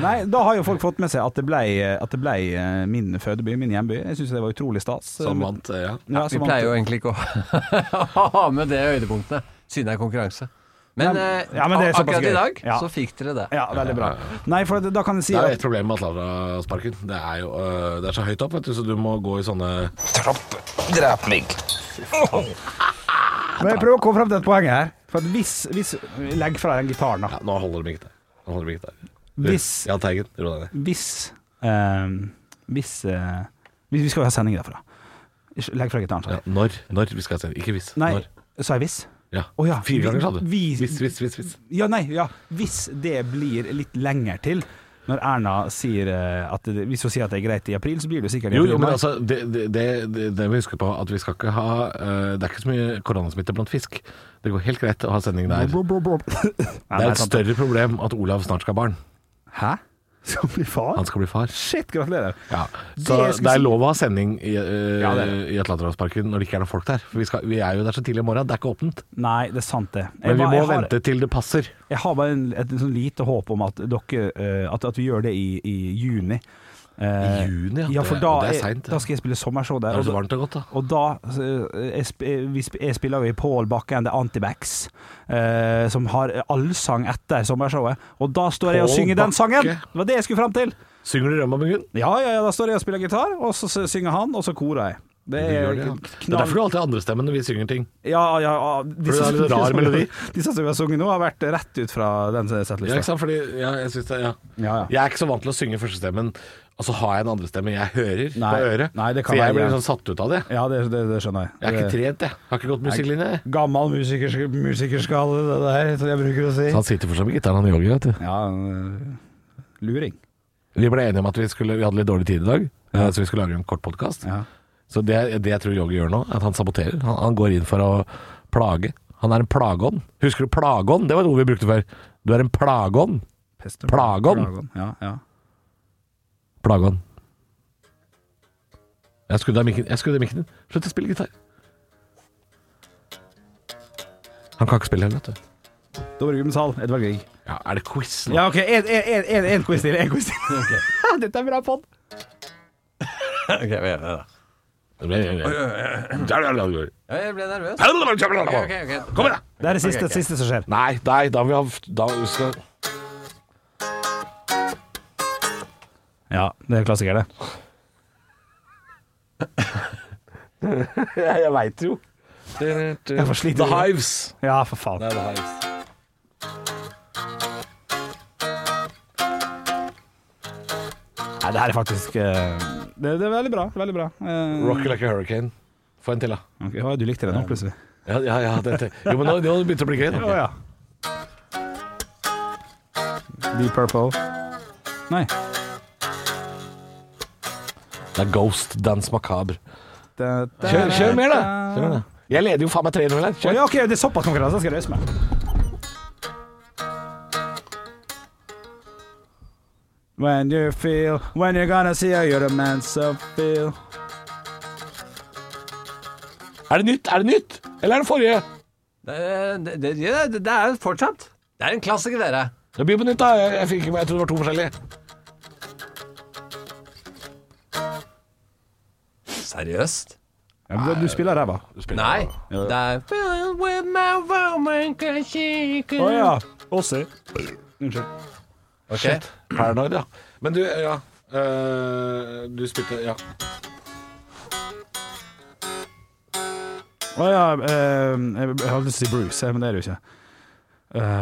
Nei, da har jo folk fått med seg at det ble, at det ble eh, min fødeby, min hjemby. Jeg syns det var utrolig stas. eh,
Som vant,
eh, ja.
Vi
som vant.
pleier jo egentlig ikke å ha med det høydepunktet, siden det er konkurranse. Men,
Men-
eh,
ja, men det er såpass
akkurat i
gøy.
dag
Ja.
så fikk dere det.
Ja, veldig bra. Nei, for da kan jeg si
Det er
at
et problem med Atlanterhavsparken. Det er jo eh, det er så høyt opp, vet du, så du må gå i sånne Trapper. Drep meg.
Men jeg prøver å komme frem til et poeng her. For at hvis, hvis Legg fra den gitaren, da.
nå holder det meg ikke der. Nå holder det meg ikke der. Du,
Hvis-
Jahn Teigen, ro deg ned.
Hvis eh, Hvis eh, Vi vi skal jo ha sending derfra. Ikke- Legg fra gitaren. sa jeg.
Ja, når? Når vi skal se Ikke hvis.
Nei,
Når.
sa jeg hvis?
Ja.
Å ja,
Fire
vi-
ganger sa du.
vi-
Hvis, hvis, hvis. hvis.
Ja, nei, ja. Hvis det blir litt lenger til når Erna sier eh, at det, Hvis hun sier at det er greit i april, så blir det jo sikkert i
Jo,
april.
jo, men
mai.
altså, det, det, det, det må vi huske på at vi skal ikke ha eh, Det er ikke så mye koronasmitte blant fisk. Det går helt greit å ha sending der.
Blub, blub, blub, blub. Nei,
Det
nei,
er et
sant.
større problem at Olav snart skal ha barn.
Hæ? Skal bli far?
Han skal bli far.
Shit, gratulerer.
Ja.
Det
Så
jeg
det,
skulle
er
si-
lov å ha sending i, eh,
Ja, det
i Atlanterhavsparken når det ikke er noen folk der. For vi, skal, vi er jo der så tidlig i morgen, det er ikke åpent.
Nei, det er sant, det. Jeg
Men vi
ba-
må
jeg har-
vente til det passer.
Jeg har bare en, et sånn lite håp om at, dere, eh, at, at vi gjør det i, i juni. Eh,
I juni, ja.
ja. For
Det-
da,
det er
er-
sent, ja.
da skal jeg spille sommershow der.
Da er det
og
så varmt og godt, da.
Og da eh, jeg, sp- eh, vi sp- jeg spiller jo i Pål Bakke and The Antibacs, eh, som har allsang etter sommershowet. Og da står jeg og
Paul
synger den
Bakke.
sangen! Det var det jeg skulle fram til.
Synger du Rømmabungen?
Ja, ja, ja, da står jeg og spiller gitar, og så s- synger han, og så korer jeg. Det
Du
er
gjør det, ja. Det er
knall...
derfor du alltid har andrestemmen når vi synger ting.
Ja, ja, ja.
For det er litt rar melodi.
Disse som vi har sunget nå, har vært rett ut fra den
Ja, ikke
settlista.
sant? Fordi, ja, jeg, synes det, ja. jeg er ikke så vant til å synge førstestemmen, og så har jeg en andrestemme jeg hører
Nei.
på øret.
Nei, det kan
så jeg
være
blir
greit.
sånn satt ut av det.
Ja, det, det, det skjønner jeg.
Jeg er ikke trent, jeg. Har ikke gått musikklinje. jeg.
Gammel musikers, musikerskalle, det der, som jeg bruker å si.
Så han sitter fortsatt med gitaren han jogger, vet du.
Ja, han, øh, luring.
Vi ble enige om at vi, skulle, vi hadde litt dårlig tid i dag, eh, så vi skulle lage en kort podkast. Så det, det jeg tror Jogge gjør nå, er at han saboterer. Han, han går inn for å plage. Han er en plageånd. Husker du plageånd? Det var et ord vi brukte før. Du er en plageånd.
Pest og
Plageånd.
Ja, ja.
Plageånd. Jeg skrudde av mikken. Jeg skrudde av mikken din. Slutt å spille gitar. Han kan ikke spille heller, vet du.
Da bruker vi sal. Edvard Grieg.
Ja, er det quiz nå?
Ja, OK. Én quiz til. En quiz til. Dette er bra pod.
Ok, vi gjør det da. Ja, jeg ble nervøs. Ok, ok, ok.
Kom igjen, da!
Det er det siste,
Ok, ok.
siste som skjer.
Nei, nei, da må vi ha da skal...
Ja, det er klassiker, det.
Jeg, jeg veit jo.
Jeg får slite.
The Hives.
Ja, for faen.
Det er The Hives.
Nei, det her er faktisk øh, det, det er veldig bra. Veldig bra. Eh,
Rocky like a hurricane. Få en til, da.
ok, ja, du likte det nå, plutselig.
Ja, ja, ja dette. Jo, men nå, nå begynte det å bli gøy. da.
Å, ja. Deep Purple. Nei.
Det er Ghost Dance Macabre.
Da- da-
Kjør, kjør mer, da.
da-
Kjør, da. Jeg leder jo faen meg 3-0 her.
Å,
Kjør.
ja, OK, det er såpass konkurranse. Da skal jeg røyse meg. When you feel When you're gonna see how you're the man so feel
Er det nytt? Er det nytt? Eller er det forrige?
Det, det, det, ja, det, det er fortsatt. Det er en klassiker, dere.
Det blir på nytt, da. Jeg, jeg, fikk, ikke med- jeg trodde det var to forskjellige.
Seriøst?
du spiller ræva.
Nei, det er
Å ja. Åse. Unnskyld.
Shit. Paranoid, ja. Men du, ja. eh, du spilte Ja.
Å ja. eh, jeg hadde lyst til å si Bruce, eh, men det er det jo ikke.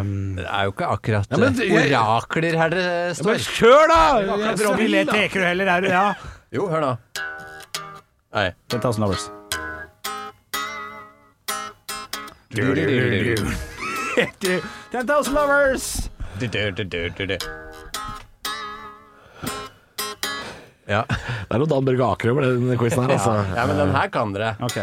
Um,
Det er jo ikke akkurat
Ja, men
eh,
jeg-
orakler her det står.
men kjør da!
Det er akkurat
Jeg-
Ronny
Ronny
Le
da.
Tekerud heller, er du- ja. Jo, hør da. Nei.
1000 Hours.
Du-du-du-du-du.
10,000 Lovers!
Du-du-du-du-du-du. Ja.
Det er noe Dan Børge Aker over den quizen her, altså.
Ja, men den her kan dere.
Ok.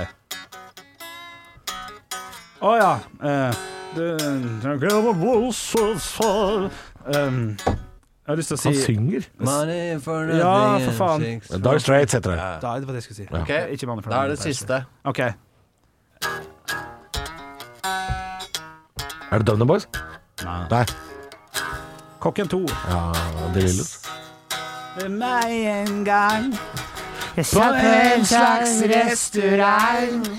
Å ja. eh, det- det- det var voldsomt for- Um, jeg har lyst til å si
Han synger.
Money for
Ja,
nothing
for faen.
and
Dire Straits heter det.
Da er det var det jeg skulle si.
Ja.
Ok,
Ikke Money for
da er det
Nothing,
siste.
OK.
Er det Dumner Boys?
Nei.
Nei.
Kokken 2.
Ja, De Lillos.
Med meg en gang Jeg
satt på en slags restaurant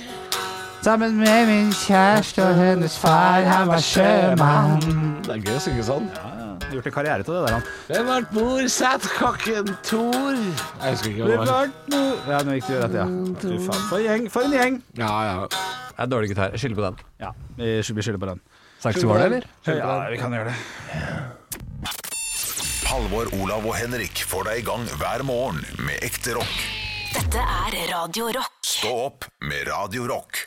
sammen med min kjæreste og hennes far. Han var sjømann.
Det er gøy å synge sånn.
Gjort en karriere til det der, han.
Hvem vart bosatt kokken Thor? Jeg husker ikke hva det var.
Ja, nå gikk det jo rett, ja. Fy faen. For en gjeng! For en gjeng!
Ja, ja.
Det er dårlig gitar. Jeg skylder på den.
Ja, vi skyld- vi skylder på den.
Sankt var det, eller?
Ja, vi kan gjøre det.
Halvor, Olav og Henrik får deg i gang hver morgen med ekte rock.
Dette er Radio Rock.
Stå opp med Radio Rock.